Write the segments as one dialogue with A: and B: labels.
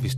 A: Hvis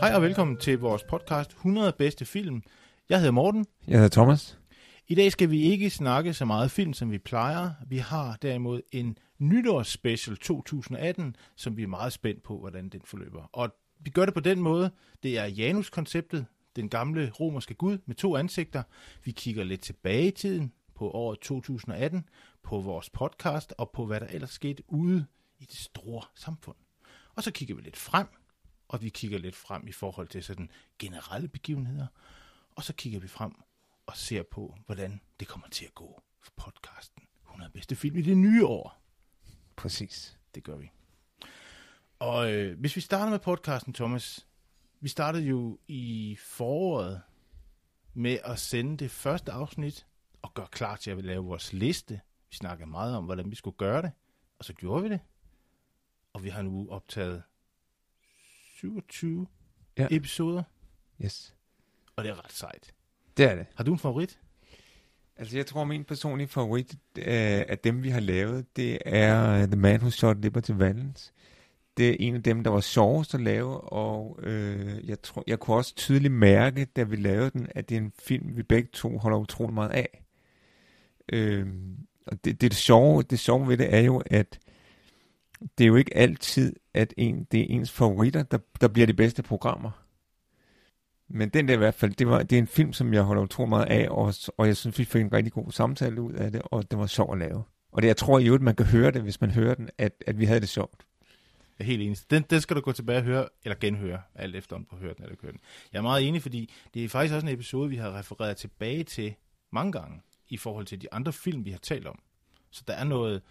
B: Hej og velkommen til vores podcast 100 bedste film. Jeg hedder Morten.
A: Jeg hedder Thomas.
B: I dag skal vi ikke snakke så meget film, som vi plejer. Vi har derimod en nytårsspecial 2018, som vi er meget spændt på, hvordan den forløber. Og vi gør det på den måde. Det er Janus-konceptet, den gamle romerske gud med to ansigter. Vi kigger lidt tilbage i tiden på året 2018, på vores podcast og på, hvad der ellers skete ude i det store samfund. Og så kigger vi lidt frem, og vi kigger lidt frem i forhold til sådan generelle begivenheder. Og så kigger vi frem og ser på, hvordan det kommer til at gå for podcasten 100 bedste film i det nye år.
A: Præcis.
B: Det gør vi. Og øh, hvis vi starter med podcasten, Thomas, vi startede jo i foråret med at sende det første afsnit og gøre klar til at lave vores liste. Vi snakkede meget om, hvordan vi skulle gøre det, og så gjorde vi det. Og vi har nu optaget 27
A: Ja.
B: ja. episoder,
A: Yes.
B: og det er ret sejt.
A: Det er det.
B: Har du en favorit?
A: Altså, jeg tror, min personlige favorit øh, af dem, vi har lavet, det er øh, The Man Who Shot Liberty Valance. Det er en af dem, der var sjovest at lave, og øh, jeg, tror, jeg kunne også tydeligt mærke, da vi lavede den, at det er en film, vi begge to holder utrolig meget af. Øh, og det, det, det, sjove, det sjove ved det er jo, at det er jo ikke altid, at en, det er ens favoritter, der, der bliver de bedste programmer. Men den der i hvert fald, det, var, det er en film, som jeg holder utrolig meget af, og, og jeg synes, vi fik en rigtig god samtale ud af det, og den var sjov at lave. Og det, jeg tror i øvrigt, man kan høre det, hvis man hører den, at, at vi havde det sjovt.
B: Jeg er helt enig. Den, den skal du gå tilbage og høre, eller genhøre, alt efter om du har hørt den eller kørt den. Jeg er meget enig, fordi det er faktisk også en episode, vi har refereret tilbage til mange gange, i forhold til de andre film, vi har talt om. Så der er noget,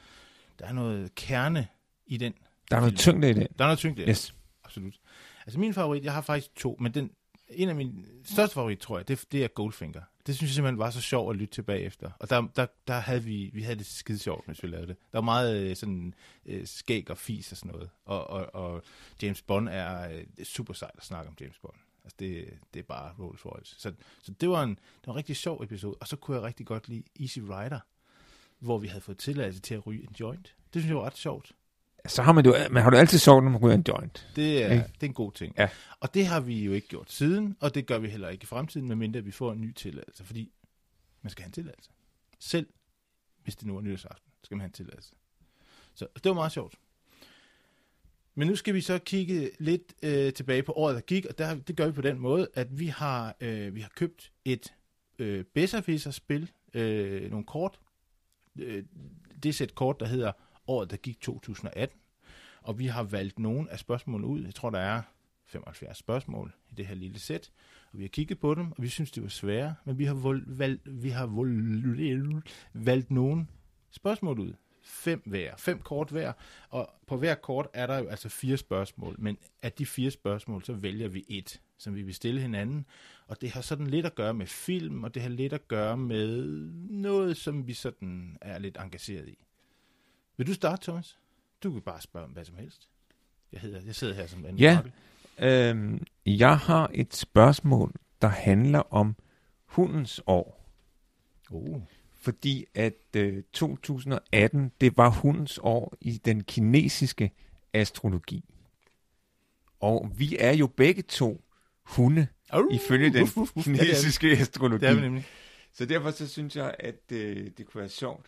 B: der er noget kerne i den.
A: Der er noget
B: film.
A: tyngde i det.
B: Der er noget tyngde. i den.
A: Yes.
B: Absolut. Altså min favorit, jeg har faktisk to, men den, en af mine største favorit, tror jeg, det, det er Goldfinger. Det synes jeg simpelthen var så sjovt at lytte til bagefter. Og der, der, der havde vi, vi havde det skide sjovt, hvis vi lavede det. Der var meget øh, sådan øh, skæg og fis og sådan noget. Og, og, og James Bond er øh, super sejt at snakke om James Bond. Altså det, det er bare Rolls Royce. Så, så det, var en, det var en rigtig sjov episode. Og så kunne jeg rigtig godt lide Easy Rider, hvor vi havde fået tilladelse til at ryge en joint. Det synes jeg var ret sjovt.
A: Så har man det jo, man har det altid sjovt, når man ryger en joint.
B: Det er,
A: Ikke?
B: det er en god ting.
A: Ja.
B: Og det har vi jo ikke gjort siden, og det gør vi heller ikke i fremtiden, medmindre vi får en ny tilladelse, fordi man skal have en tilladelse. Selv hvis det nu er nytårsaften, skal man have en tilladelse. Så det var meget sjovt. Men nu skal vi så kigge lidt øh, tilbage på året, der gik, og der, det gør vi på den måde, at vi har, øh, vi har købt et øh, Besserwisser-spil, øh, nogle kort. Øh, det er sæt kort, der hedder Året, der gik 2018. Og vi har valgt nogle af spørgsmålene ud. Jeg tror, der er 75 spørgsmål i det her lille sæt. Og vi har kigget på dem, og vi synes, det var svære. Men vi har, vol- valgt, vi har vol- valgt nogle spørgsmål ud. Fem hver. Fem kort hver. Og på hver kort er der jo altså fire spørgsmål. Men af de fire spørgsmål, så vælger vi et, som vi vil stille hinanden. Og det har sådan lidt at gøre med film, og det har lidt at gøre med noget, som vi sådan er lidt engageret i. Vil du starte, Thomas? Du kan bare spørge om hvad som helst. Jeg, hedder, jeg sidder her som anden
A: Ja.
B: makke.
A: Øhm, jeg har et spørgsmål, der handler om hundens år.
B: Oh.
A: Fordi at øh, 2018, det var hundens år i den kinesiske astrologi. Og vi er jo begge to hunde
B: Uh,
A: ifølge den
B: uh, uh, uh.
A: kinesiske
B: Ja,
A: astrologi.
B: det er vi nemlig.
A: Så derfor så synes jeg, at øh, det kunne være sjovt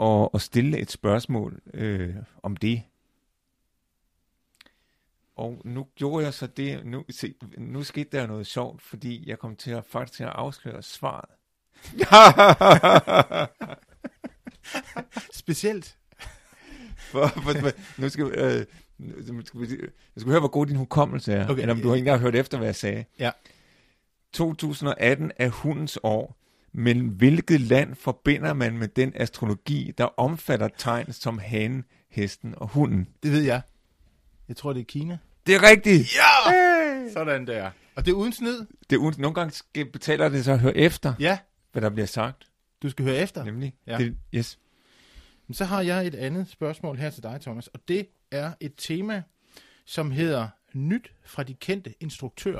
A: at, at stille et spørgsmål øh, om det. Og nu gjorde jeg så det, nu, se, nu skete der noget sjovt, fordi jeg kom til at faktisk til at afsløre svaret.
B: Specielt.
A: for, for, for, nu skal, vi, øh, nu nu skal vi, nu skal vi høre, hvor god din hukommelse er, okay.
B: Okay.
A: eller om du ikke engang har hørt efter, hvad jeg sagde.
B: Ja.
A: 2018 er hundens år, Men hvilket land forbinder man med den astrologi, der omfatter tegn som hanen, hesten og hunden?
B: Det ved jeg. Jeg tror, det er Kina.
A: Det er rigtigt!
B: Ja!
A: Hey!
B: Sådan der. Og det er uden snyd.
A: Det er uden, nogle gange skal, betaler det så at høre efter,
B: Ja,
A: hvad der bliver sagt.
B: du skal høre efter.
A: Nemlig.
B: Ja.
A: Det, yes.
B: Men så har jeg et andet spørgsmål her til dig, Thomas, og det er et tema, som hedder Nyt fra de kendte instruktører.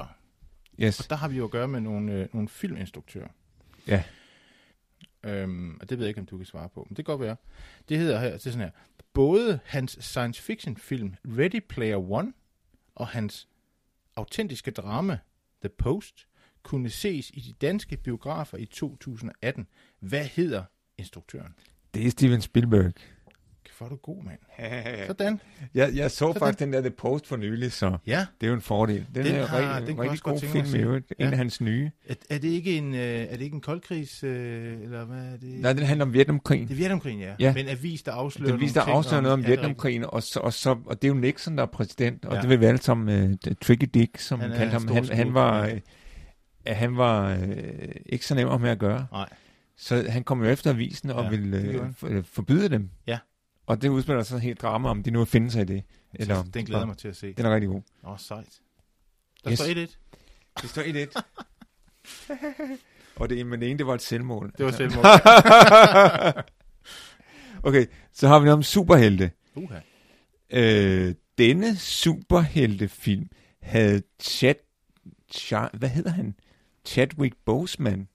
B: Og
A: Yes.
B: der har vi jo at gøre med nogle, øh, nogle filminstruktører.
A: Ja.
B: Øhm, og det ved jeg ikke, om du kan svare på, men det kan godt være. Det hedder her, det er sådan her. Både hans science fiction film Ready Player One og hans autentiske drama The Post kunne ses i de danske biografer i 2018. Hvad hedder instruktøren?
A: Det er Steven Spielberg.
B: Hvor er du god, mand. Sådan.
A: jeg, jeg så
B: den-
A: faktisk den der The Post for nylig, så
B: Ja.
A: det er jo en fordel. Den,
B: Den
A: er
B: har-
A: rigtig,
B: den kunne
A: rigtig
B: jeg også godt
A: god
B: tænke mig at
A: film,
B: se.
A: i øvrigt. En
B: Ja.
A: af hans nye.
B: Er, er, det ikke en, øh, er det ikke en koldkrigs, øh, eller hvad er det?
A: Nej, den handler om Vietnamkrigen.
B: Det er Vietnamkrigen, ja.
A: Ja.
B: Men avis, der afslører
A: Den viser, der
B: nogle ting
A: afslører noget om
B: ja,
A: Vietnamkrigen, og, så, og, så, og det er jo Nixon, der er præsident, og
B: Ja.
A: det vil vi alle sammen, uh, Tricky Dick, som
B: Han
A: han
B: er
A: kaldte ham,
B: en stor
A: han, han
B: skurk,
A: var,
B: ja.
A: øh, at han var øh, ikke så nem at have med at gøre.
B: Nej.
A: Så han kom jo efter avisen og
B: Ja,
A: ja, ville
B: det gjorde
A: øh,
B: han.
A: for, øh, forbyde dem.
B: Ja.
A: Og det udspiller sig helt drama om, de nu at finde sig i det. Eller, om
B: Eller,
A: de
B: den glæder
A: bare-
B: jeg mig til at se.
A: Den er rigtig god.
B: Åh, oh, sejt. Der yes.
A: Yes.
B: står 1-1.
A: Det står 1-1. og det, men det ene, det var et selvmål.
B: Det var selvmål.
A: okay, så har vi noget om superhelte.
B: Uha.
A: Øh, denne superheltefilm havde Chad, Chad... Hvad hedder han? Chadwick Boseman.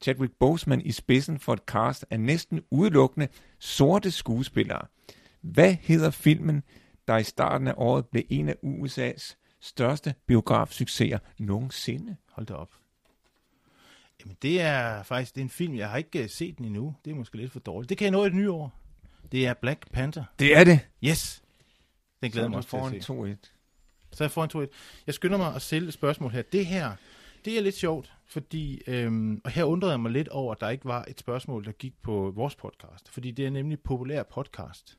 A: Chadwick Boseman i spidsen for et cast af næsten udelukkende sorte skuespillere. Hvad hedder filmen, der i starten af året blev en af USA's største biografsucceser nogensinde?
B: Hold da op. Jamen, det er faktisk det er en film, jeg har ikke øh, set den endnu. Det er måske lidt for dårligt. Det kan jeg nå i det nye år. Det er Black Panther.
A: Det er det.
B: Yes! Den glæder jeg mig
A: Så
B: også
A: du
B: til at se.
A: får en 2-1.
B: Så jeg får en to Jeg skynder mig at stille et spørgsmål her. Det her, det er lidt sjovt, fordi, øhm, og her undrede jeg mig lidt over, at der ikke var et spørgsmål, der gik på vores podcast. Fordi det er nemlig populær podcast.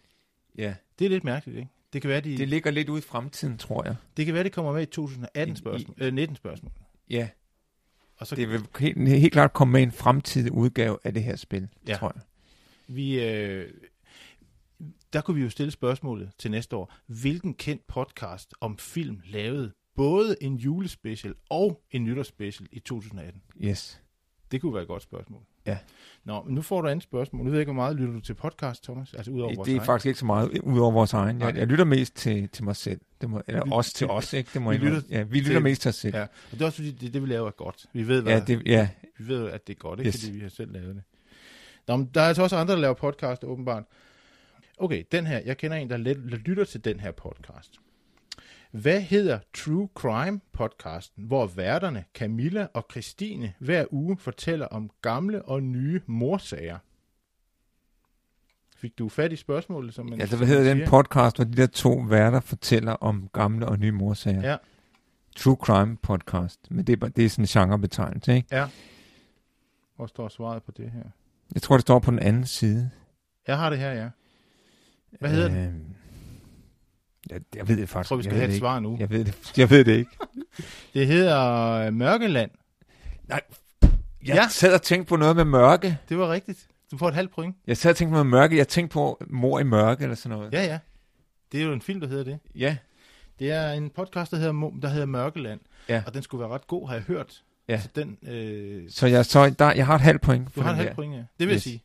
A: Ja,
B: Det er lidt mærkeligt, ikke? Det kan være, de,
A: det
B: det,
A: ligger lidt ude i fremtiden, tror jeg.
B: det, kan være, det kommer med i 2018
A: I-
B: spørgsmål, øh, 19 spørgsmål.
A: Ja,
B: Og så
A: det vil helt, helt klart komme med en fremtidig udgave af det her spil,
B: Ja.
A: ja. tror jeg.
B: Vi, øh, der kunne vi jo stille spørgsmålet til næste år. Hvilken kendt podcast om film lavede både en julespecial og en nytårsspecial i 2018?
A: Yes.
B: Det kunne være et godt spørgsmål.
A: Ja.
B: Nå, men nu får du andet spørgsmål. Nu ved jeg ikke, hvor meget lytter du til podcast, Thomas? Altså udover vores
A: Det er
B: egen.
A: faktisk ikke så meget ud over vores egen.
B: Nej.
A: Jeg, jeg lytter mest til, til mig selv. Det må, eller
B: Vi-
A: vi, os til os, ikke? Det må
B: vi
A: jeg indrømme.
B: lytter
A: ja, vi lytter
B: til-
A: mest til os selv.
B: Ja,
A: Ja,
B: og det er også fordi, det, det vi laver er godt. Vi ved, hvad,
A: ja, det, ja.
B: vi ved at det er godt, ikke? Yes.
A: Yes.
B: fordi vi har selv lavet det. Nå, men der er altså også andre, der laver podcast, åbenbart. Okay, den her. Jeg kender en, der let, der lytter til den her podcast. Hvad hedder True Crime podcasten, hvor værterne Camilla og Christine hver uge fortæller om gamle og nye morsager? Fik du fat i spørgsmålet? Som man,
A: Altså,
B: som
A: hvad
B: man
A: hedder den
B: siger?
A: podcast, hvor de der to værter fortæller om gamle og nye morsager?
B: Ja.
A: True Crime Podcast. Men det er, bare- det er sådan en genrebetegnelse, ikke?
B: Hvor står svaret på det her?
A: Jeg tror, det står på den anden side.
B: Jeg har det her, ja. Hvad hedder den?
A: den? Jeg, Øhm, jeg ved det
B: Jeg
A: faktisk.
B: tror, vi
A: Øh, jeg
B: skal
A: ved
B: have et
A: det ikke.
B: svar nu.
A: Jeg ved det, jeg ved det ikke.
B: Det hedder øh, Mørkeland.
A: Jeg
B: Ja.
A: ja. sad og tænkte på noget med mørke.
B: Det var rigtigt. Du får et halvt point.
A: Jeg sad og tænkte på noget med mørke. Jeg tænkte på mor i mørke eller sådan noget.
B: Ja, ja. Det er jo en film, der hedder det.
A: ja.
B: Det er en podcast, der hedder, Mo- der hedder Mørkeland.
A: Ja.
B: Og den skulle være ret god, har jeg hørt.
A: Ja.
B: Så den, øh,
A: Så jeg, så der, jeg har et halvt point.
B: du
A: for
B: har et
A: den
B: halvt
A: der.
B: point, ja. Det vil yes. jeg
A: Yes.
B: sige.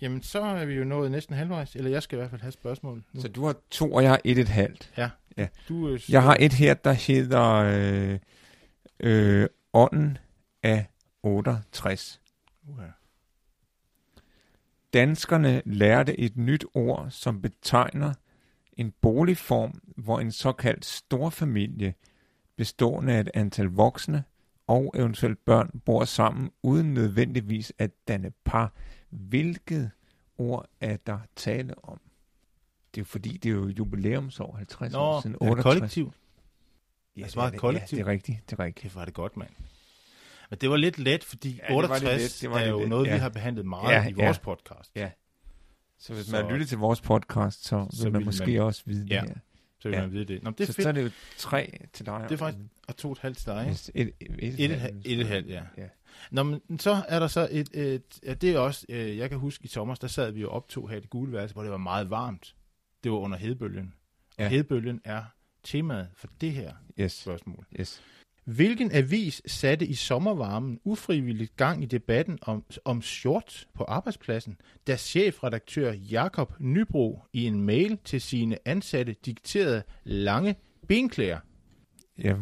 B: Jamen, så er vi jo nået næsten halvvejs. Eller jeg skal i hvert fald have et spørgsmål. Nu.
A: Så du har to, og jeg har et et halvt.
B: du, øh,
A: Jeg har et her, der hedder øh, øh, Ånden af 68.
B: Uha.
A: Danskerne lærte et nyt ord, som betegner en boligform, hvor en såkaldt storfamilie, bestående af et antal voksne og eventuelt børn, bor sammen uden nødvendigvis at danne par. Hvilket ord er der tale om? Det er jo fordi, det er jo jubilæumsår 50 år
B: Nå,
A: siden
B: er det
A: 68.
B: kollektiv.
A: Ja,
B: Altså, meget
A: det er det.
B: kollektiv.
A: Ja, det er rigtigt, det er rigtigt.
B: Kæft, var det godt, mand. Men det var lidt let, fordi
A: Ja,
B: ja,
A: det var lidt
B: 68
A: let, det
B: var
A: var
B: er
A: lidt
B: jo
A: let,
B: noget, ja. vi
A: ja.
B: har behandlet meget ja,
A: Ja,
B: i vores
A: ja.
B: podcast.
A: Ja. Så hvis
B: Så-
A: så, man lytter til vores podcast, så vil
B: Så
A: man
B: vil
A: måske
B: man-
A: også vide
B: Ja,
A: det her.
B: Så vil
A: Ja.
B: man vide det. Nå, men det
A: så,
B: er
A: så er
B: fedt.
A: det jo tre til dig.
B: Det er faktisk- Og to og et halvt til dig. ikke?
A: Yes, et, et,
B: Et, et, et, et, et halvt, ja.
A: Ja.
B: Nå, men så er der så et, et ja, det er også, øh, jeg kan huske i sommer, der sad vi jo optog her i det gule værelse, hvor det var meget varmt. Det var under hedbølgen. Ja.
A: Ja.
B: Og hedbølgen er temaet for det her
A: Yes.
B: spørgsmål.
A: Yes.
B: Hvilken avis satte i sommervarmen ufrivilligt gang i debatten om, om shorts på arbejdspladsen, da chefredaktør Jakob Nybro i en mail til sine ansatte dikterede lange benklæder?
A: Jeg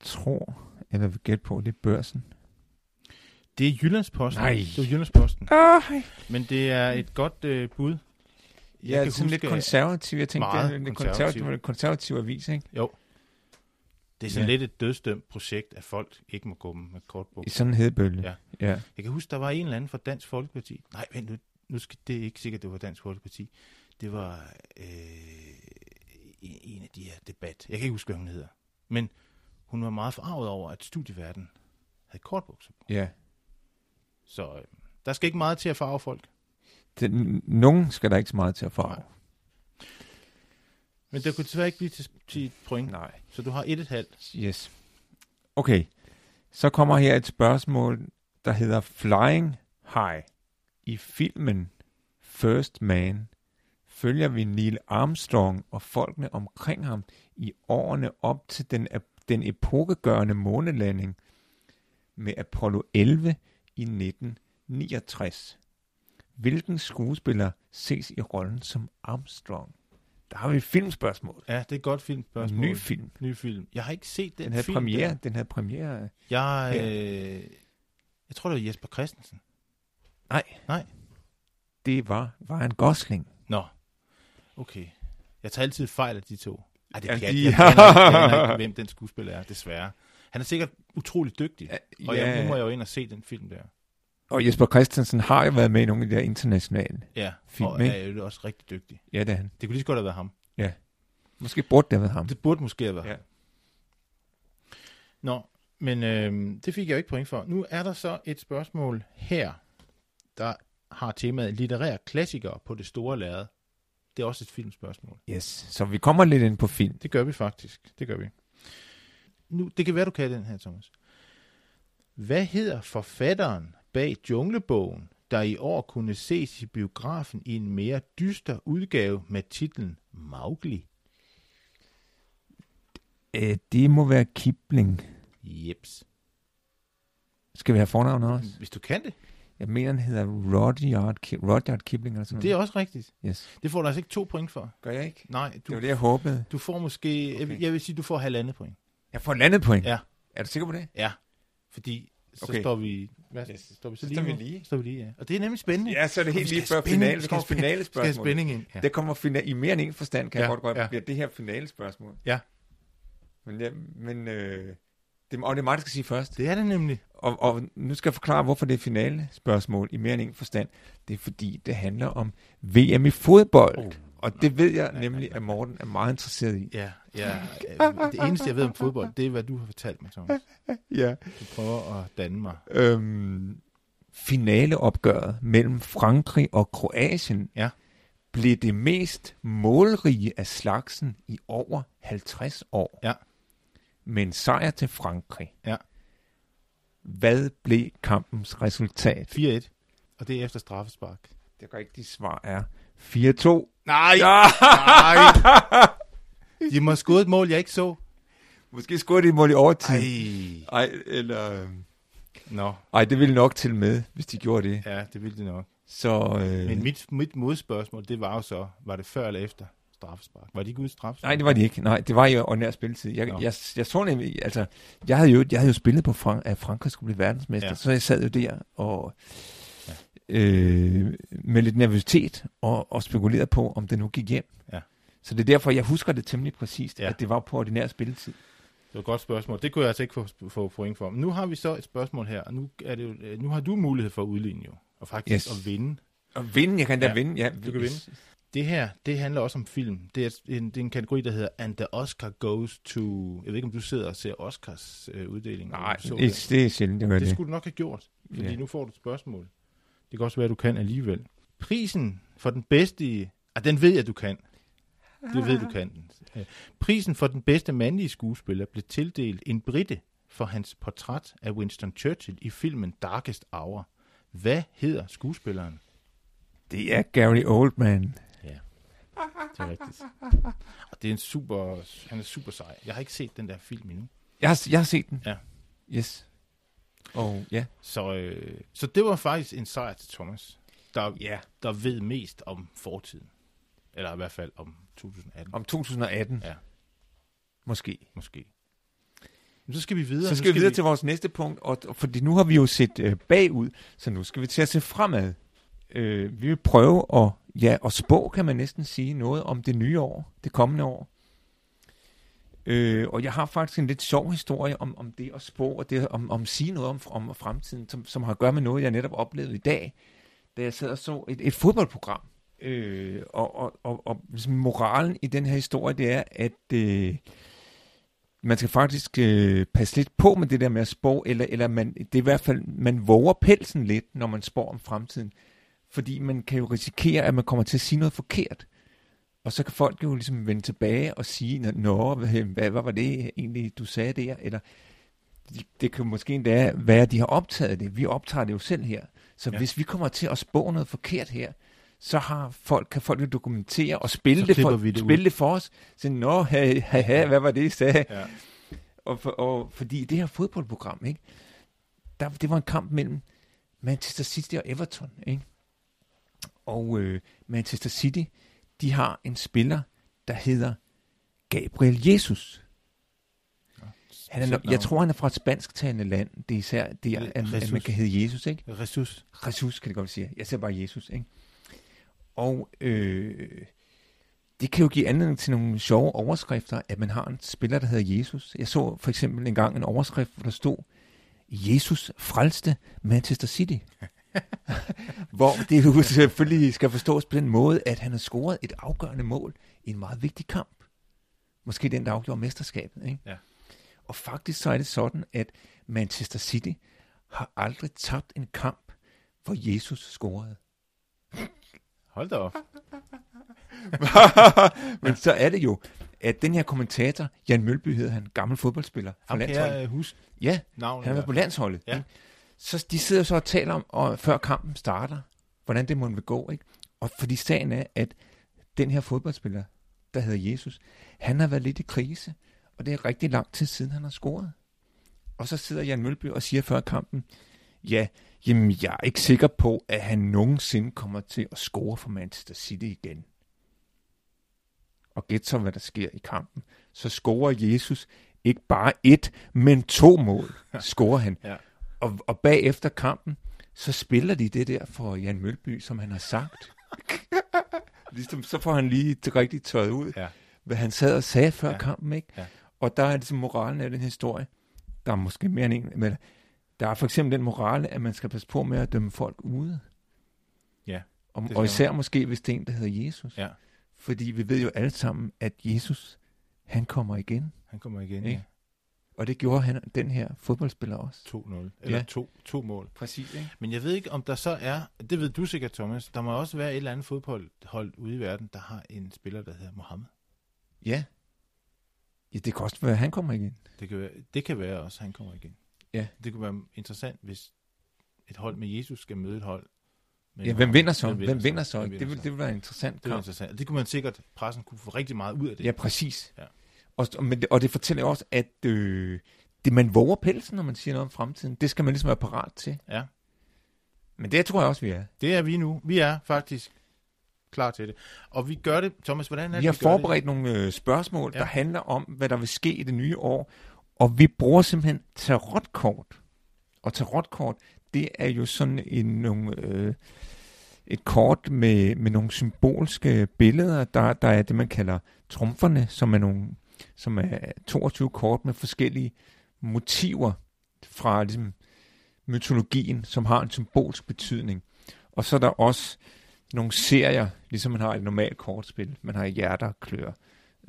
A: tror, eller vil gætte på, det er børsen.
B: Det er Jyllandsposten.
A: Nej.
B: Det er Jyllandsposten.
A: Ah,
B: Men det er et godt øh, bud.
A: jeg er
B: kan
A: sådan lidt
B: huske, at-
A: konservativ. Jeg tænkte,
B: Meget
A: det er en
B: konservativ.
A: konservativ, konservativ avis, ikke?
B: Jo. Det er sådan
A: Ja.
B: lidt et dødsdømt projekt, at folk ikke må gå med kortbog.
A: I sådan en hedebølge.
B: Ja.
A: ja.
B: Jeg kan huske, der var en eller anden fra Dansk Folkeparti. Nej, vent nu. Nu skal det er ikke sikkert, det var Dansk Folkeparti. Det var øh, en- en af de her debat. Jeg kan ikke huske, hvad hun hedder. Men hun var meget forarvet over, at studieverden havde kortbukser på.
A: ja.
B: Så øh, der skal ikke meget til at farve folk.
A: Det, n- nogen skal der ikke så meget til at farve.
B: Nej. Men det kunne desværre ikke blive til, til et point. Nej.
A: Nej.
B: Så du har et et halvt.
A: Yes. Okay. Så kommer her et spørgsmål, der hedder Flying High. I filmen First Man følger vi Neil Armstrong og folkene omkring ham i årene op til den, den epokegørende månelanding med Apollo 11 i 1969. Hvilken skuespiller ses i rollen som Armstrong? Der har vi et filmspørgsmål.
B: Ja, det er et godt
A: En
B: filmspørgsmål.
A: ny film.
B: Ny film. Jeg har ikke set den,
A: Den havde
B: film.
A: premiere.
B: der.
A: Den havde premiere.
B: Jeg, øh, jeg tror, det var Jesper Christensen.
A: Det var Ryan Gosling.
B: Nå, okay. Jeg tager altid fejl af de to. Ej, det
A: Ja,
B: er pjat.
A: de-
B: Jeg aner ikke- jeg aner ikke, hvem den skuespiller er, desværre. Han er sikkert utrolig dygtig, og jeg, nu må jeg jo ind og se den film der.
A: og Jesper Christensen har jo været med i nogle af de der internationale.
B: Ja,
A: Film,
B: og
A: ikke?
B: er jo også rigtig dygtig.
A: Ja, det er han.
B: Det kunne lige så godt have været ham.
A: Måske burde det have været ham.
B: Det burde måske have været
A: Ja.
B: ham. Nå, men øh, det fik jeg jo ikke point for. Nu er der så et spørgsmål her, der har temaet litterære klassikere på det store lærred. Det er også et filmspørgsmål.
A: Yes. Så vi kommer lidt ind på film.
B: Det gør vi faktisk. Det gør vi. Nu, det kan være, du kan den her, Thomas. Hvad hedder forfatteren bag Junglebogen, der i år kunne ses i biografen i en mere dyster udgave med titlen Mowgli?
A: Øh, det må være Kipling.
B: Jeps.
A: Skal vi have fornavnet også?
B: Hvis du kan det.
A: Jeg mener, han hedder Rudyard, Ki- Rudyard Kipling eller sådan
B: Det er
A: noget.
B: også rigtigt.
A: Yes.
B: Det får du altså ikke to point for.
A: Gør jeg ikke?
B: Nej,
A: Det var
B: du,
A: det, jeg håbede.
B: du får måske... Okay. Jeg, vil- jeg vil sige, du får halvandet point.
A: Jeg får landet point.
B: Ja.
A: Er du sikker på det?
B: Ja. Fordi så
A: Okay.
B: står vi... Hvad,
A: Yes.
B: står vi så
A: Så
B: lige
A: står vi
B: nu?
A: lige.
B: Står vi lige, ja. Og det er nemlig spændende.
A: Ja, så er det
B: Og vi
A: helt lige
B: skal
A: før
B: have spænding.
A: finale.
B: Vi
A: Vi
B: skal
A: skal
B: have
A: have finale
B: Skal jeg have
A: spørgsmål.
B: spænding ind? Ja.
A: Det kommer fina- i mere end en forstand, kan
B: Ja,
A: jeg godt godt
B: ja.
A: ja. det her finale spørgsmål.
B: Ja.
A: Men, ja, men øh, det, og det er mig, der skal sige først.
B: Det er det nemlig.
A: Og, og nu skal jeg forklare, hvorfor det er finale spørgsmål i mere end en forstand. Det er fordi, det handler om VM i fodbold.
B: Oh,
A: Oh, og det ved jeg
B: nej,
A: nemlig,
B: nej,
A: at Morten er meget interesseret i.
B: Ja, ja. øh, Det eneste, jeg ved om fodbold, det er, hvad du har fortalt mig, Thomas.
A: Ja.
B: Du prøver at danne mig.
A: Øhm, finaleopgøret mellem Frankrig og Kroatien
B: Ja.
A: blev det mest målrige af slagsen i over 50 år.
B: Ja.
A: Med en sejr til Frankrig.
B: Ja.
A: Hvad blev kampens resultat?
B: 4-1. Og det er efter straffespark.
A: Det rigtige svar er 4-2.
B: Nej!
A: Ja!
B: Nej! De må have skudt et mål, jeg ikke så.
A: Måske skulle de et mål i overtid.
B: Ej.
A: Ej. Ej, eller... øh,
B: Nå,
A: Ej, det ville nok til med, hvis de gjorde det.
B: ja, det ville det nok.
A: Så... Øh,
B: Men mit, mit modspørgsmål, det var jo så, var det før eller efter straffespark? Var de ikke uden straffespark?
A: Nej, det var de ikke. Nej, det var jo ordinær spilletid. Jeg,
B: Nå.
A: jeg, jeg så nemlig, altså, jeg havde jo, jeg havde jo spillet på, Frank, at Frankrig skulle blive verdensmester,
B: Ja.
A: ja. så jeg sad jo der og øh, med lidt nervøsitet og, og spekulerede på, om det nu gik hjem.
B: Ja.
A: Så det er derfor, jeg husker det temmelig præcist,
B: Ja.
A: ja. at det var på ordinær spilletid.
B: Det var et godt spørgsmål. Det kunne jeg altså ikke få, få point for. Men nu har vi så et spørgsmål her, og nu, er det, jo- øh, nu har du mulighed for at udligne jo, og faktisk yes.
A: Yes.
B: at vinde.
A: Og vinde, jeg kan da
B: Ja,
A: vinde. Ja,
B: du kan vinde. Det her, det handler også om film. Det er en, det er en kategori, der hedder And the Oscar Goes to... Jeg ved ikke, om du sidder og ser Oscars øh, uddeling.
A: Nej,
B: så
A: det,
B: det.
A: det er sjældent, jeg gør
B: det
A: det.
B: skulle du nok have gjort, fordi
A: Ja.
B: nu får du et spørgsmål. Det kan også være, at du kan alligevel. Prisen for den bedste... i- Ah, den ved jeg, du kan. Det ved du kan. den. Øh, Prisen for den bedste mandlige skuespiller blev tildelt en britte for hans portræt af Winston Churchill i filmen Darkest Hour. Hvad hedder skuespilleren?
A: Det er Gary Oldman.
C: Det er rigtigt.
B: Og det er en super, han er super sej. Jeg har ikke set den der film endnu.
A: Jeg har, jeg har set den.
B: Ja.
A: Yes. Og ja.
B: Så, øh, så det var faktisk en sejr til Thomas, der,
A: Ja.
B: der ved mest om fortiden. Eller i hvert fald om 2018,
A: Om 2018.
B: Ja.
A: Måske.
B: måske. Men så skal vi videre.
A: Så
B: Nu
A: skal vi videre til vores næste punkt, og, og fordi nu har vi jo set øh, bagud, så nu skal vi til at se fremad. Øh, vi vil prøve at, ja, at spå, kan man næsten sige, noget om det nye år, det kommende år. Øh, og jeg har faktisk en lidt sjov historie om, om det at spå, og det om, om at sige noget om, om fremtiden, som, som har at gøre med noget, jeg netop oplevede i dag, da jeg sad og så et, et fodboldprogram. Øh, og, og, og, og ligesom moralen i den her historie, det er, at... Øh, man skal faktisk øh, passe lidt på med det der med at spå, eller, eller man, det er i hvert fald, man våger pelsen lidt, når man spår om fremtiden. Fordi man kan jo risikere, at man kommer til at sige noget forkert. Og så kan folk jo ligesom vende tilbage og sige, "Nå, nå, hvad, hvad, hvad var det egentlig, du sagde der? Eller de- det kan måske endda være, at de har optaget det. Vi optager det jo selv her. Så
B: Ja.
A: ja. hvis vi kommer til at spå noget forkert her, så har folk, kan folk jo dokumentere og spille,
B: Så
A: det, for,
B: klipper vi det ud.
A: spille det for os. Så, nå, ha, ha, ha, hvad var det, I sagde?
B: Ja.
A: Og, for, og fordi det her fodboldprogram, ikke? Der, det var en kamp mellem Manchester City og Everton, ikke? Og øh, Manchester City, de har en spiller, der hedder Gabriel Jesus. Han er, nok- jeg tror, han er fra et spansktalende land. Det er især det, at, at man
B: Jesus.
A: kan hedde Jesus, ikke?
B: Ressus.
A: Jesus, kan det godt sige. Jeg siger bare Jesus, ikke? Og øh, det kan jo give anledning til nogle sjove overskrifter, at man har en spiller, der hedder Jesus. Jeg så for eksempel engang en overskrift, hvor der stod, Jesus frelste Manchester City. hvor det jo selvfølgelig skal forstås på den måde, at han har scoret et afgørende mål i en meget vigtig kamp. Måske den, der afgjorde mesterskabet. Ikke?
B: Ja.
A: Og faktisk så er det sådan, at Manchester City har aldrig tabt en kamp, hvor Jesus scorede.
B: Hold da op.
A: Men så er det jo, at den her kommentator, Jan Mølby hedder han, gammel fodboldspiller fra
B: Ham kan
A: landsholdet.
B: jeg øh, huske
A: Ja,
B: navnet.
A: han var på landsholdet.
B: Ja.
A: ikke? Så de sidder så og taler om, og før kampen starter, hvordan det må vil gå. Ikke? Og fordi sagen er, at den her fodboldspiller, der hedder Jesus, han har været lidt i krise, og det er rigtig lang tid siden, han har scoret. Og så sidder Jan Mølby og siger før kampen, ja, jamen jeg er ikke sikker på, at han nogensinde kommer til at score for Manchester City igen. Og gæt så, hvad der sker i kampen. Så scorer Jesus ikke bare et, men to mål, scorer han.
B: Ja.
A: Og, og bagefter kampen, så spiller de det der for Jan Mølby, som han har sagt. ligesom, så får han lige det rigtigt tørret ud,
B: Ja.
A: hvad han sad og sagde før
B: Ja.
A: ja. kampen. Ikke?
B: Ja.
A: Og der er ligesom moralen af den historie. Der er måske mere end en, men der er for eksempel den morale, at man skal passe på med at dømme folk ude.
B: Ja,
A: Og,
B: skal
A: og
B: man.
A: især måske, hvis det er en, der hedder Jesus.
B: Ja.
A: Fordi vi ved jo alle sammen, at Jesus, han kommer igen.
B: Han kommer igen. Ja.
A: Ikke? Og det gjorde han, den her fodboldspiller også.
B: 2-0. Eller
A: Ja.
B: to, to mål.
A: Præcis, ikke?
B: Men jeg ved ikke, om der så er, det ved du sikkert, Thomas, der må også være et eller andet fodboldhold ude i verden, der har en spiller, der hedder Mohammed.
A: Ja. ja. det kan også være, at han kommer igen.
B: Det kan være, det kan være også, at han kommer igen.
A: Ja.
B: Det kunne være interessant, hvis et hold med Jesus skal møde et hold. Med
A: Ja, hvem
B: Mohammed.
A: vinder så? Hvem vinder så?
B: Hvem
A: Det vil, det vil være en interessant
B: det var
A: kamp.
B: interessant. Det kunne man sikkert, pressen kunne få rigtig meget ud af det.
A: Ja, præcis.
B: Ja.
A: Og, og- men, det- og det fortæller jo også, at øh, det, man våger pelsen, når man siger noget om fremtiden. Det skal man ligesom være parat til.
B: ja.
A: Men det tror jeg også, vi er.
B: Det er vi nu. Vi er faktisk klar til det. Og vi gør det, Thomas, hvordan er det,
A: Vi har
B: gør det?
A: forberedt nogle øh, spørgsmål,
B: Ja.
A: ja. der handler om, hvad der vil ske i det nye år. Og vi bruger simpelthen tarotkort. Og tarotkort, det er jo sådan en, nogle, øh, et kort med, med nogle symbolske billeder. Der, der er det, man kalder trumferne, som er, nogle, som er 22 kort med forskellige motiver fra ligesom, mytologien, som har en symbolsk betydning. Og så er der også nogle serier, ligesom man har i et normalt kortspil. Man har hjerter, klør,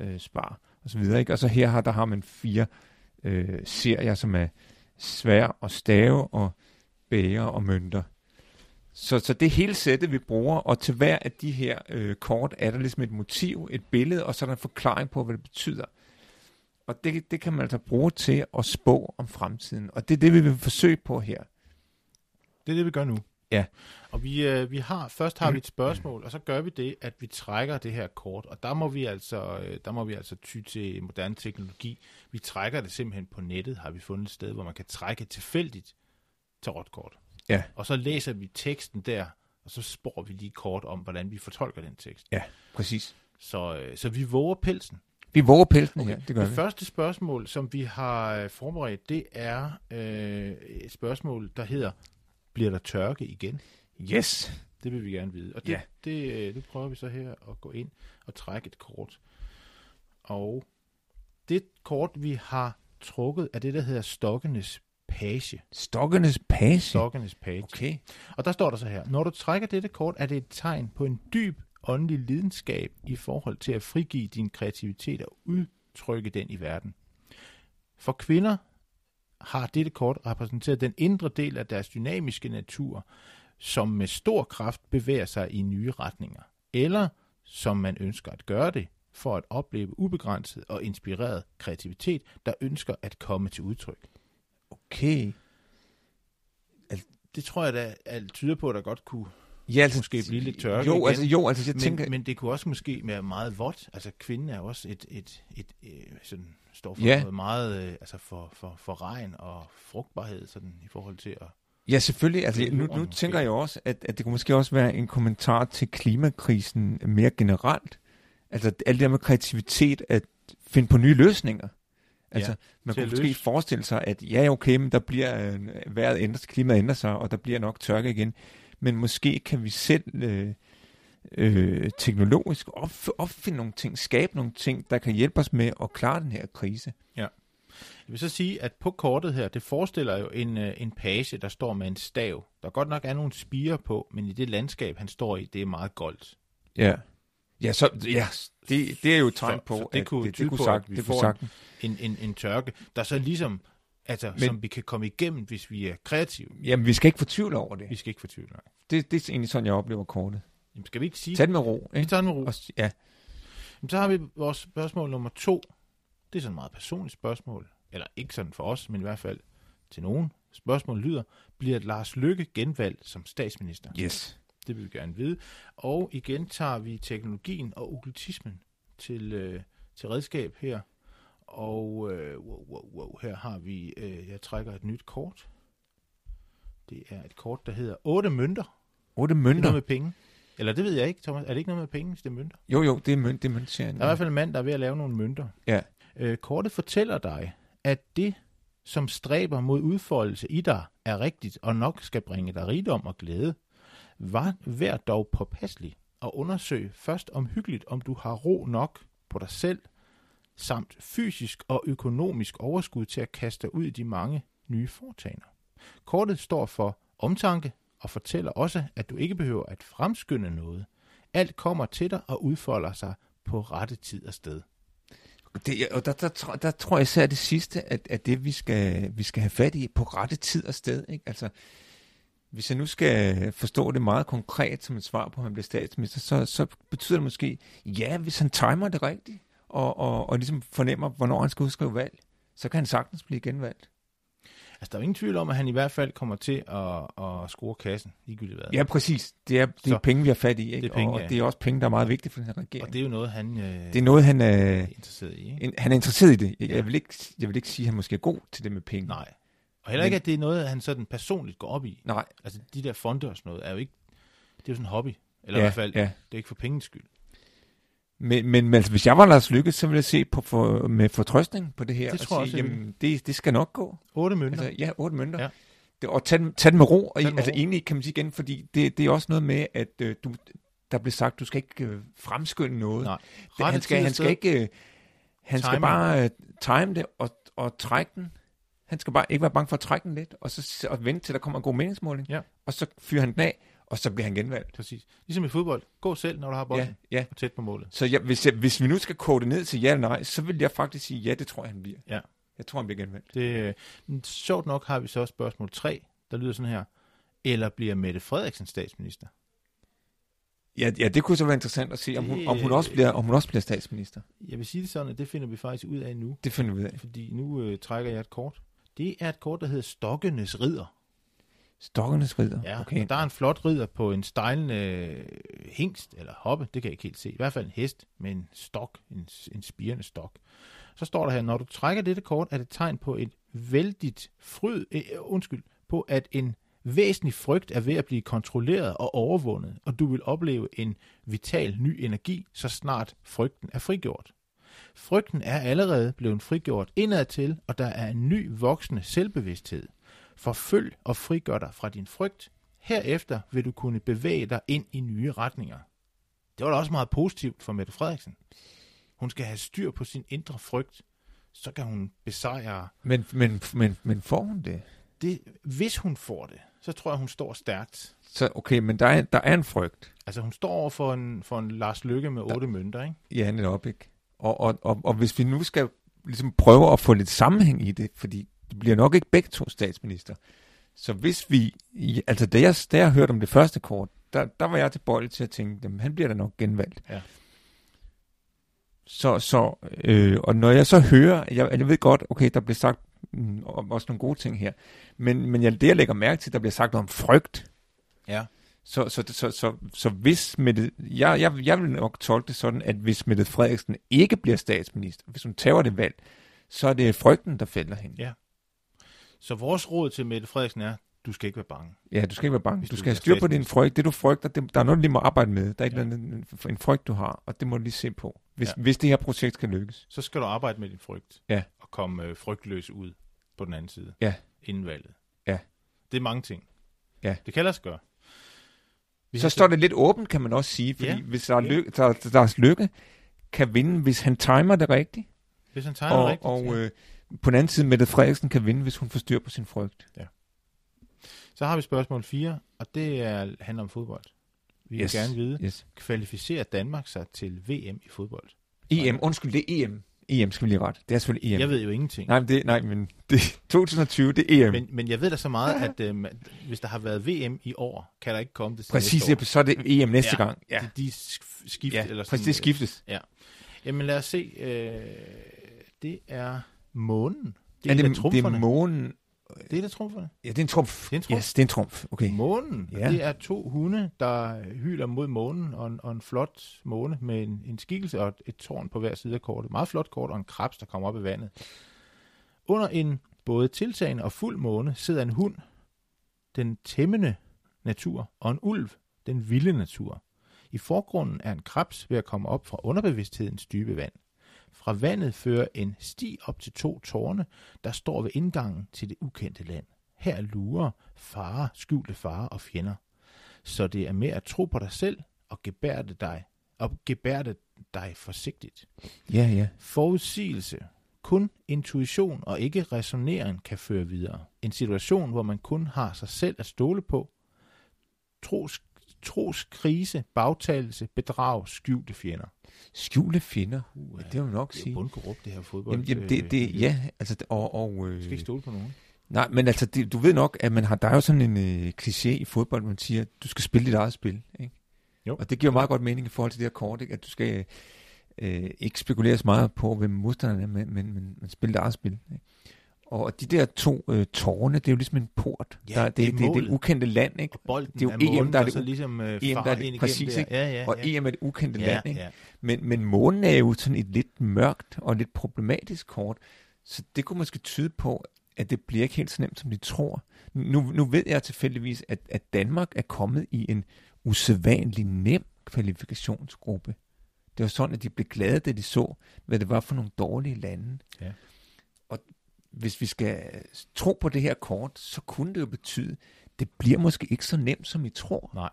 A: øh, spar og så videre. Ikke? Og så her har, der har man fire øh, serier, som er svær og stave og bæger og mønter. Så, så det er hele sættet, vi bruger, og til hver af de her øh, kort er der ligesom et motiv, et billede, og så er der en forklaring på, hvad det betyder. Og det, det kan man altså bruge til at spå om fremtiden. Og det er det, vi vil forsøge på her.
B: Det er det, vi gør nu.
A: Ja.
B: Og vi, øh, vi har, først har vi et spørgsmål, og så gør vi det, at vi trækker det her kort. Og der må vi altså, øh, der må vi altså ty til moderne teknologi. Vi trækker det simpelthen på nettet, har vi fundet et sted, hvor man kan trække tilfældigt tarotkort.
A: Ja.
B: Og så læser vi teksten der, og så spår vi lige kort om, hvordan vi fortolker den tekst.
A: Præcis.
B: Så, øh, så vi våger pelsen.
A: Vi våger pelsen okay.
B: Okay,
A: her, det gør
B: det
A: vi.
B: første spørgsmål, som vi har øh, forberedt, det er øh, et spørgsmål, der hedder, bliver der tørke igen?
A: Yes.
B: Det vil vi gerne vide. Og det,
A: Ja.
B: ja. det, øh, nu prøver vi så her at gå ind og trække et kort. Og det kort, vi har trukket, er det, der hedder Stokkenes Page.
A: Stokkernes page.
B: Stokkenes Page.
A: Okay.
B: Og der står der så her, når du trækker dette kort, er det et tegn på en dyb åndelig lidenskab i forhold til at frigive din kreativitet og udtrykke den i verden. For kvinder har dette kort repræsenteret den indre del af deres dynamiske natur, som med stor kraft bevæger sig i nye retninger, eller som man ønsker at gøre det, for at opleve ubegrænset og inspireret kreativitet, der ønsker at komme til udtryk.
A: Okay.
B: Det tror jeg da alt tyder på, at der godt kunne
A: Ja, altså,
B: Måske blive lidt tørke
A: Jo,
B: igen.
A: altså, jo, altså jeg
B: men,
A: tænker...
B: men det kunne også måske være meget vådt. Altså kvinden er jo også et, et, et, øh, sådan, står for
A: Ja.
B: noget meget, øh, altså for, for, for regn og frugtbarhed sådan, i forhold til at...
A: Ja, selvfølgelig. Altså,
B: Det er
A: nu,
B: jorden
A: nu
B: måske.
A: tænker jeg også, at, at det kunne måske også være en kommentar til klimakrisen mere generelt. Altså alt det der med kreativitet, at finde på nye løsninger. Altså, ja,
B: Ja,
A: man
B: til
A: kunne
B: at
A: måske
B: løse.
A: forestille sig, at ja, okay, men der bliver, øh, vejret ændres, klimaet ændrer sig, og der bliver nok tørke igen. Men måske kan vi selv øh, øh, teknologisk opf- opfinde nogle ting, skabe nogle ting, der kan hjælpe os med at klare den her krise.
B: Jeg vil så sige, at på kortet her, det forestiller jo en, øh, en page, der står med en stav. Der godt nok er nogle spiger på, men i det landskab, han står i, det er meget goldt.
A: Ja. Ja, så, ja det, det er jo et tegn
B: Så-
A: på,
B: så det
A: at
B: kunne
A: det,
B: tyde
A: det kunne
B: på, at
A: sagt,
B: vi
A: det
B: får
A: kunne
B: en-
A: sagt
B: En, en, en tørke, der så ligesom, altså,
A: Men-
B: men, som vi kan komme igennem, hvis vi er kreative.
A: Jamen, vi skal ikke få tvivl over
B: Vi
A: det.
B: skal ikke fortvivle. nej.
A: det. Det er egentlig sådan, jeg oplever kortet.
B: Jamen, Skal vi ikke sige...
A: Tag det med ro,
B: Vi
A: ikke?
B: tager den med ro.
A: Og, s- ja.
B: Jamen, Så har vi vores spørgsmål nummer to. Det er sådan et meget personligt spørgsmål. Eller ikke sådan for os, men i hvert fald til nogen. Spørgsmålet lyder, bliver Lars Lykke genvalgt som statsminister?
A: Yes.
B: Det vil vi gerne vide. Og igen tager vi teknologien og okkultismen til, øh, til redskab her. Og øh, wow, wow, wow, her har vi, øh, jeg trækker et nyt kort. Det er et kort, der hedder 8 mønter.
A: Otte
B: Det er noget
A: mønter.
B: med penge. Eller det ved jeg ikke, Thomas. Er det ikke noget med penge, hvis det er mønter?
A: Jo, jo, det er mønt, det er møntserien.
B: Der er i hvert fald en mand, der er ved at lave nogle mønter.
A: Ja.
B: Øh, kortet fortæller dig, at det, som stræber mod udfoldelse i dig, er rigtigt og nok skal bringe dig rigdom og glæde. Var, vær dog påpasselig og undersøg først omhyggeligt, om du har ro nok på dig selv, samt fysisk og økonomisk overskud til at kaste dig ud i de mange nye foretagender. Kortet står for omtanke og fortæller også, at du ikke behøver at fremskynde noget. Alt kommer til dig og udfolder sig på rette tid og sted.
A: Det, er- og der, der, der, der tror jeg især det sidste, at, at det vi skal, vi skal have fat i på rette tid og sted. Ikke? Altså, hvis jeg nu skal forstå det meget konkret som et svar på, at han bliver statsminister, så, så betyder det måske, ja, hvis han timer det rigtigt, og, og, og ligesom fornemmer, hvornår han skal udskrive valg, så kan han sagtens blive genvalgt.
B: Altså, der er jo ingen tvivl om, at han i hvert fald kommer til at, at score kassen, ligegyldigt hvad.
A: Ja, præcis. Det er, det er
B: Så-
A: penge, vi har fat i, ikke?
B: Det er penge,
A: og
B: ja.
A: det er også penge, der er meget vigtige for den her regering.
B: Og det er jo noget, han øh,
A: Det
B: det...
A: er noget, han
B: er
A: er,
B: interesseret i, ikke?
A: en, han er interesseret i det. Jeg,
B: Ja.
A: jeg, vil ikke, jeg vil ikke sige, at han måske er god til det med penge.
B: Nej. Og heller
A: Men-
B: ikke, at det er noget, han sådan personligt går op i.
A: Nej.
B: Altså, de der fonde og sådan noget, er jo ikke... Det er jo sådan en hobby. Eller
A: Ja,
B: ja, i hvert fald, ja.
A: ja.
B: det er ikke for pengens skyld.
A: Men, men, men altså, hvis jeg var Lars Lykke, så ville jeg se på for, med fortrøstning på det her.
B: Det
A: og
B: tror jeg
A: sige,
B: også, jeg
A: jamen, det, det skal nok gå.
B: Otte mønter.
A: Altså,
B: Altså,
A: ja, otte mønter.
B: Ja.
A: Det, og tag, den- tag den med ro. Og,
B: Tag den med
A: altså,
B: ro.
A: egentlig kan man sige igen, fordi det, det er også noget med, at øh, du, der blev sagt, du skal ikke øh, fremskynde noget.
B: Nej.
A: Det- Altså, han skal, han skal ikke... Øh, han skal
B: Time.
A: bare øh, time det og, og trække den. Han skal bare ikke være bange for at trække den lidt, og så s- og vente til, der kommer en god meningsmåling.
B: Ja.
A: Og så fyrer han den af, og så bliver han genvalgt.
B: Præcis. Ligesom i fodbold. Gå selv, når du har bolden.
A: Ja, ja.
B: Ja. Tæt på målet.
A: Så jeg, hvis, jeg, hvis vi nu skal kode det ned til ja eller nej, så vil jeg faktisk sige, ja, det tror jeg, han bliver.
B: Ja.
A: Jeg tror, han bliver genvalgt.
B: Det, øh, men sjovt nok har vi så spørgsmål 3, der lyder sådan her. Eller bliver Mette Frederiksen statsminister?
A: Ja, ja, det kunne så være interessant at se, om hun, om hun, også, bliver, om hun også bliver statsminister.
B: Jeg vil sige det sådan, at det finder vi faktisk ud af nu.
A: Det finder vi ud af.
B: Fordi nu øh, trækker jeg et kort. Det er et kort, der hedder Stokkenes Ridder.
A: Stokkernes ridder.
B: Ja, okay.
A: okay.
B: og der er en flot ridder på en stejlende øh, hingst, eller hoppe, det kan jeg ikke helt se. I hvert fald en hest med en stok, en, en spirende stok. Så står der her, når du trækker dette kort, er det tegn på et vældigt fryd, øh, undskyld, på at en væsentlig frygt er ved at blive kontrolleret og overvundet, og du vil opleve en vital ny energi, så snart frygten er frigjort. Frygten er allerede blevet frigjort indadtil, og der er en ny voksende selvbevidsthed. Forfølg og frigør dig fra din frygt. Herefter vil du kunne bevæge dig ind i nye retninger. Det var da også meget positivt for Mette Frederiksen. Hun skal have styr på sin indre frygt, så kan hun besejre.
A: Men, men, men, men får hun det?
B: Det, hvis hun får det, så tror jeg, hun står stærkt.
A: Så, okay, men der er, der er en frygt.
B: Altså hun står over for en, for en Lars Lykke med otte mønter, ikke?
A: Ja, netop, ikke? Og, og, og, og hvis vi nu skal ligesom prøve at få lidt sammenhæng i det, fordi det bliver nok ikke begge to statsminister. Så hvis vi, i- altså da jeg, da jeg hørte om det første kort, der, der var jeg tilbøjelig til at tænke, jamen, han bliver da nok genvalgt.
B: Ja.
A: Så, så øh, og når jeg så hører, jeg, jeg ved godt, okay, der bliver sagt mm, om- også nogle gode ting her, men, men jeg, det jeg lægger mærke til, der bliver sagt noget om frygt,
B: Ja.
A: så, så, så, så, så hvis Mette, jeg, jeg, jeg vil nok tolke det sådan, at hvis Mette Frederiksen ikke bliver statsminister, hvis hun tager det valg, så er det frygten, der fælder hende.
B: Ja. Så vores råd til Mette Frederiksen er, du skal ikke være bange.
A: Ja, du skal ikke være bange.
B: Hvis
A: Du
B: du
A: skal have
B: bliver
A: styr på din
B: statsminister.
A: frygt. Det, du frygter, det, der er noget, du lige må arbejde med. Der er
B: Ja.
A: ja. en, en frygt, du har, og det må du lige se på, hvis,
B: Ja.
A: ja. hvis det her projekt skal lykkes.
B: Så skal du arbejde med din frygt.
A: Ja.
B: Og komme øh, frygtløs ud på den anden side.
A: Ja.
B: Inden valget.
A: Ja.
B: Det er mange ting.
A: Ja.
B: Det kan lade sig gøre. Vi
A: Så
B: har
A: står det lidt åbent, kan man også sige, fordi
B: Ja.
A: ja. hvis der er
B: Ja.
A: lykke, der, deres lykke kan vinde, hvis han timer det rigtigt,
B: Hvis han tegner
A: og,
B: rigtigt.
A: og øh, på den anden side, Mette Frederiksen kan vinde, hvis hun får styr på sin frygt.
B: Så har vi spørgsmål 4, og det er, handler om fodbold. Vi yes. vil gerne vide,
A: Yes.
B: kvalificerer Danmark sig til VM i fodbold?
A: EM, E undskyld, det er EM. EM skal vi lige ret. Det er selvfølgelig EM.
B: Jeg ved jo ingenting.
A: Nej, men det, nej, men det, 2020, det er E EM. Men,
B: Men, men jeg ved da så meget, at øh, man- hvis der har været VM i år, kan der ikke komme det til
A: Præcis,
B: næste
A: ja, så er det EM næste
B: Ja.
A: gang.
B: år.
A: Ja,
B: De, de sk- skift,
A: ja
B: eller sådan,
A: præcis, det skiftes.
B: Øh, jamen lad os se. Øh, det er månen. Det
A: Er
B: er,
A: det,
B: en af
A: det er
B: trumferne.
A: månen.
B: det er en af trumferne.
A: Ja, det er en trumf.
B: Det er en trumf.
A: Yes, det er en trumf. Okay.
B: Månen.
A: Ja.
B: Ja. Det er to hunde, der hyler mod månen, og en, og en flot måne med en, en skikkelse og et, et tårn på hver side af kortet. Meget flot kort, og en krebs, der kommer op i vandet. Under en både tiltagende og fuld måne sidder en hund, den tæmmende natur, og en ulv, den vilde natur. I forgrunden er en krebs ved at komme op fra underbevidsthedens dybe vand. Fra vandet fører en sti op til to tårne, der står ved indgangen til det ukendte land. Her lurer fare, skjulte fare og fjender. Så det er med at tro på dig selv og gebærde dig, og gebærde dig forsigtigt.
A: Ja, ja.
B: Forudsigelse. Kun intuition og ikke resoneren kan føre videre. En situation, hvor man kun har sig selv at stole på. Tros, troskrise, bagtagelse, bedrag, skjulte fjender.
A: Skjulte finder.
B: Uh,
A: Ja, det må man nok
B: det er
A: sige.
B: bundkorrupt, det her fodbold.
A: Jamen, jamen
B: øh,
A: det, det, ja, altså, det- og, og
B: Du
A: øh,
B: skal ikke stole på nogen.
A: nej, men altså, det, du ved nok, at man har, der er jo sådan en øh, kliché i fodbold, man siger, du skal spille dit eget spil, ikke?
B: Jo.
A: Og det giver meget godt mening i forhold til det her kort, ikke? at du skal øh, ikke spekulere så meget på, hvem modstanderen er, men, men, men, men spille dit eget spil. Ikke? Og de der to øh, tårne, det er jo ligesom en port.
B: Ja,
A: der, det,
B: det er
A: det, det, det er
B: målet.
A: ukendte land, ikke?
B: Og bolden
A: det er jo
B: er
A: EM,
B: målen,
A: der er
B: der
A: det
B: så
A: u-
B: ligesom øh,
A: EM, der
B: farer
A: er det-
B: ind igennem
A: præcis,
B: der.
A: ikke?
B: Ja, ja,
A: Og
B: ja.
A: EM er et ukendte
B: ja,
A: land, ikke?
B: ja.
A: Men, men månen er jo sådan et lidt mørkt og lidt problematisk kort, så det kunne måske tyde på, at det bliver ikke helt så nemt, som de tror. Nu, nu ved jeg tilfældigvis, at, at Danmark er kommet i en usædvanlig nem kvalifikationsgruppe. Det var sådan, at de blev glade, da de så, hvad det var for nogle dårlige lande.
B: Ja.
A: Og hvis vi skal tro på det her kort, så kunne det jo betyde, at det bliver måske ikke så nemt, som I tror.
B: Nej.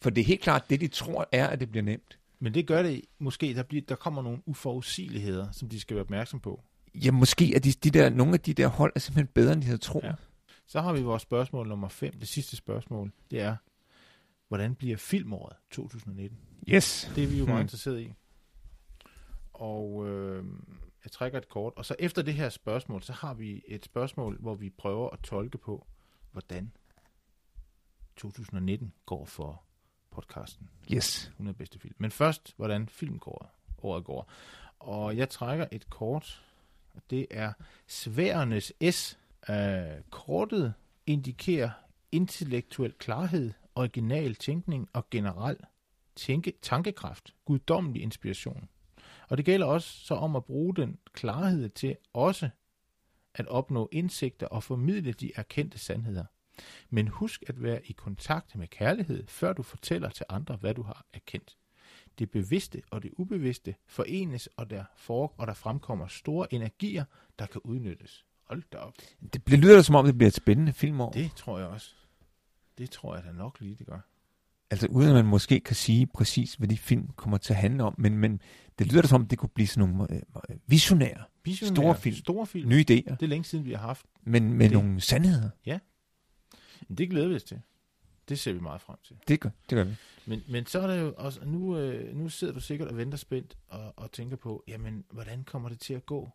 A: For det er helt klart, at det de tror er, at det bliver nemt.
B: Men det gør det måske, der, bliver, der kommer nogle uforudsigeligheder, som de skal være opmærksom på.
A: Ja, måske er de, de der, nogle af de der hold er simpelthen bedre, end de havde troet.
B: Ja. Så har vi vores spørgsmål nummer 5, det sidste spørgsmål. Det er, hvordan bliver filmåret 2019?
A: Yes.
B: Det er vi jo meget
A: Hmm.
B: interesseret i. Og øh, jeg trækker et kort. Og så efter det her spørgsmål, så har vi et spørgsmål, hvor vi prøver at tolke på, hvordan 2019 går for podcasten.
A: Yes.
B: 100 bedste film. Men først, hvordan filmkåret året går. Og jeg trækker et kort, og det er sværernes S. Øh, kortet indikerer intellektuel klarhed, original tænkning og generel tænke, tankekraft, guddommelig inspiration. Og det gælder også så om at bruge den klarhed til også at opnå indsigter og formidle de erkendte sandheder. Men husk at være i kontakt med kærlighed, før du fortæller til andre, hvad du har erkendt. Det bevidste og det ubevidste forenes, og der, for, og der fremkommer store energier, der kan udnyttes. Hold da op.
A: Det bliver, lyder da, som om, det bliver et spændende filmår. Det.
B: Det tror jeg også. Det tror jeg da nok lige, det gør.
A: Altså uden at man måske kan sige præcis, hvad de film kommer til at handle om, men, men det lyder da som om, det kunne blive sådan nogle øh, øh, visionære,
B: Visionære,
A: Store film.
B: Store film.
A: nye idéer,
B: Det er længe siden, vi har haft.
A: men med
B: Det-
A: det. nogle sandheder.
B: Men det glæder vi os til. Det ser vi meget frem til.
A: Det gør, det gør vi.
B: Men, men så er der jo også, nu, øh, nu sidder du sikkert og venter spændt og, og tænker på, jamen, hvordan kommer det til at gå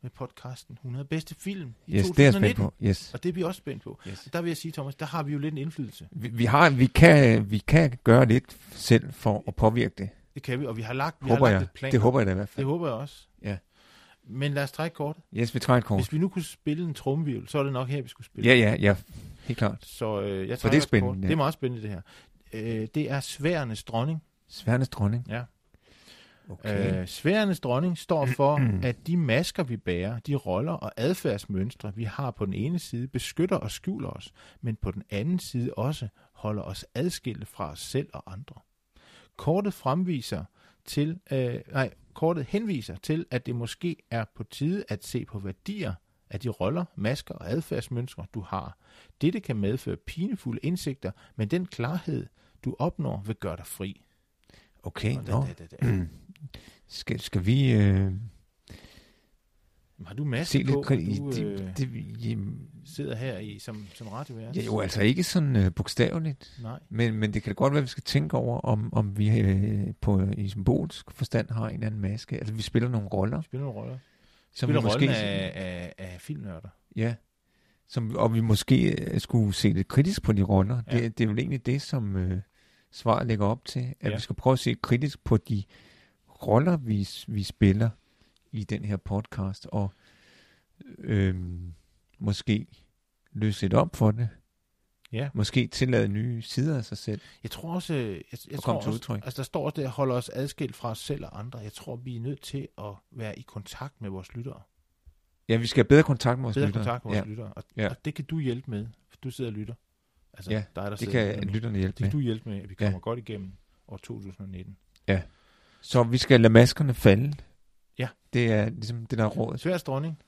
B: med podcasten 100 bedste film i
A: Yes,
B: 2019?
A: det er jeg spændt på. Yes.
B: Og det er vi også spændt på.
A: yes.
B: Der vil jeg sige, Thomas, der har vi jo lidt en indflydelse.
A: Vi, vi, har, vi, kan, vi kan gøre lidt selv for at påvirke det.
B: Det kan vi, og vi har lagt, vi
A: håber
B: har lagt
A: jeg.
B: et plan.
A: Det håber jeg da i hvert
B: det
A: fald.
B: håber jeg også.
A: Ja.
B: Men lad os trække kortet.
A: Yes, vi trækker et kort.
B: Hvis vi nu kunne spille en tromvivl, så er det nok her, vi skulle spille.
A: Ja, ja, ja. Helt klart.
B: Så øh, jeg
A: For
B: trækker
A: det er
B: et
A: spændende,
B: Kort.
A: ja.
B: Det er meget spændende, det her. Øh, det er sværernes dronning.
A: Sværnes dronning.
B: Ja.
A: Okay. Mm-hmm.
B: Okay. Øh, sværernes dronning står for, at de masker, vi bærer, de roller og adfærdsmønstre, vi har på den ene side, beskytter og skjuler os, men på den anden side også holder os adskilte fra os selv og andre. Kortet fremviser til, øh, nej, kortet henviser til, at det måske er på tide at se på værdier af de roller, masker og adfærdsmønstre, du har. Dette kan medføre pinefulde indsigter, men den klarhed, du opnår, vil gøre dig fri.
A: Okay,
B: Og da,
A: nå.
B: da, da, da.
A: Skal, skal vi... Øh,
B: Har du maske
A: se lidt
B: på,
A: kri-
B: når du
A: i-
B: øh,
A: det, det, jamen,
B: sidder her i, som, som radiovært?
A: ja, jo, altså ikke sådan øh, bogstaveligt,
B: Nej.
A: men, men det kan da godt være, at vi skal tænke over, om, om vi øh, på, i symbolsk forstand har en eller anden maske. Altså, vi spiller nogle roller,
B: Vi Spiller nogle roller.
A: som
B: Spiller
A: vi måske...
B: rollen af, af, af filmnørder.
A: Ja, som, og vi måske øh, skulle se lidt kritisk på de roller. Ja.
B: Ja.
A: Det, det er vel egentlig det, som øh, svaret lægger op til, at
B: Ja.
A: ja. vi skal prøve at se kritisk på de roller, vi, s- vi spiller i den her podcast, og øh, måske løse lidt op for det.
B: Ja.
A: Måske tillade nye sider af sig selv.
B: Jeg tror også, øh, jeg, jeg
A: Og
B: tror
A: komme til
B: også
A: udtryk.
B: altså der står også det, at holde os adskilt fra os selv og andre. Jeg tror, vi er nødt til at være i kontakt med vores lyttere.
A: Ja, vi skal have bedre kontakt med vores
B: Bedre
A: lyttere.
B: kontakt med vores
A: ja,
B: ja. lyttere. Og,
A: Ja.
B: og det kan du hjælpe med, for du sidder og lytter. Altså
A: Ja,
B: dig, der
A: det
B: sidder
A: kan
B: nu.
A: lytterne
B: det
A: hjælpe
B: kan
A: med.
B: du hjælpe med, at vi
A: Ja.
B: kommer godt igennem år 2019.
A: Så vi skal lade maskerne falde.
B: Ja.
A: Det er ligesom det, der er rådet.
B: Sværs dronning.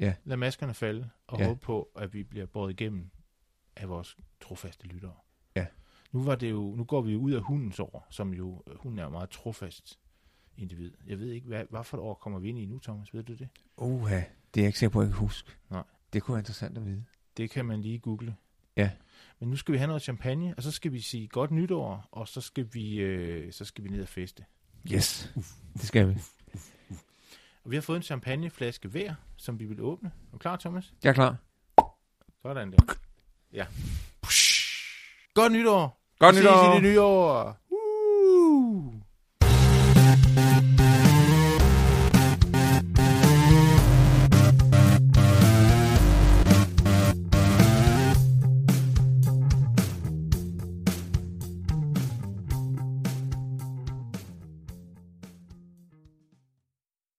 A: Ja.
B: Lad maskerne falde og ja.
A: Ja.
B: håbe på, at vi bliver båret igennem af vores trofaste lyttere.
A: Ja.
B: Nu, var det jo, nu går vi jo ud af hundens år, som jo, hun er jo meget trofast individ. Jeg ved ikke, hvad, hvad for et år kommer vi ind i nu, Thomas? Ved du det?
A: Uha, det er jeg ikke sikker på, at jeg kan huske.
B: Nej.
A: Det kunne være interessant at vide.
B: Det kan man lige google.
A: Ja.
B: Men nu skal vi have noget champagne, og så skal vi sige godt nytår, og så skal vi, øh, så skal vi ned og feste.
A: Yes, det skal vi.
B: Og vi har fået en champagneflaske hver, som vi vil åbne. Er du klar, Thomas?
A: Jeg er klar.
B: Sådan der. Ja. Godt nytår!
A: Godt
B: Vi ses i det nye år!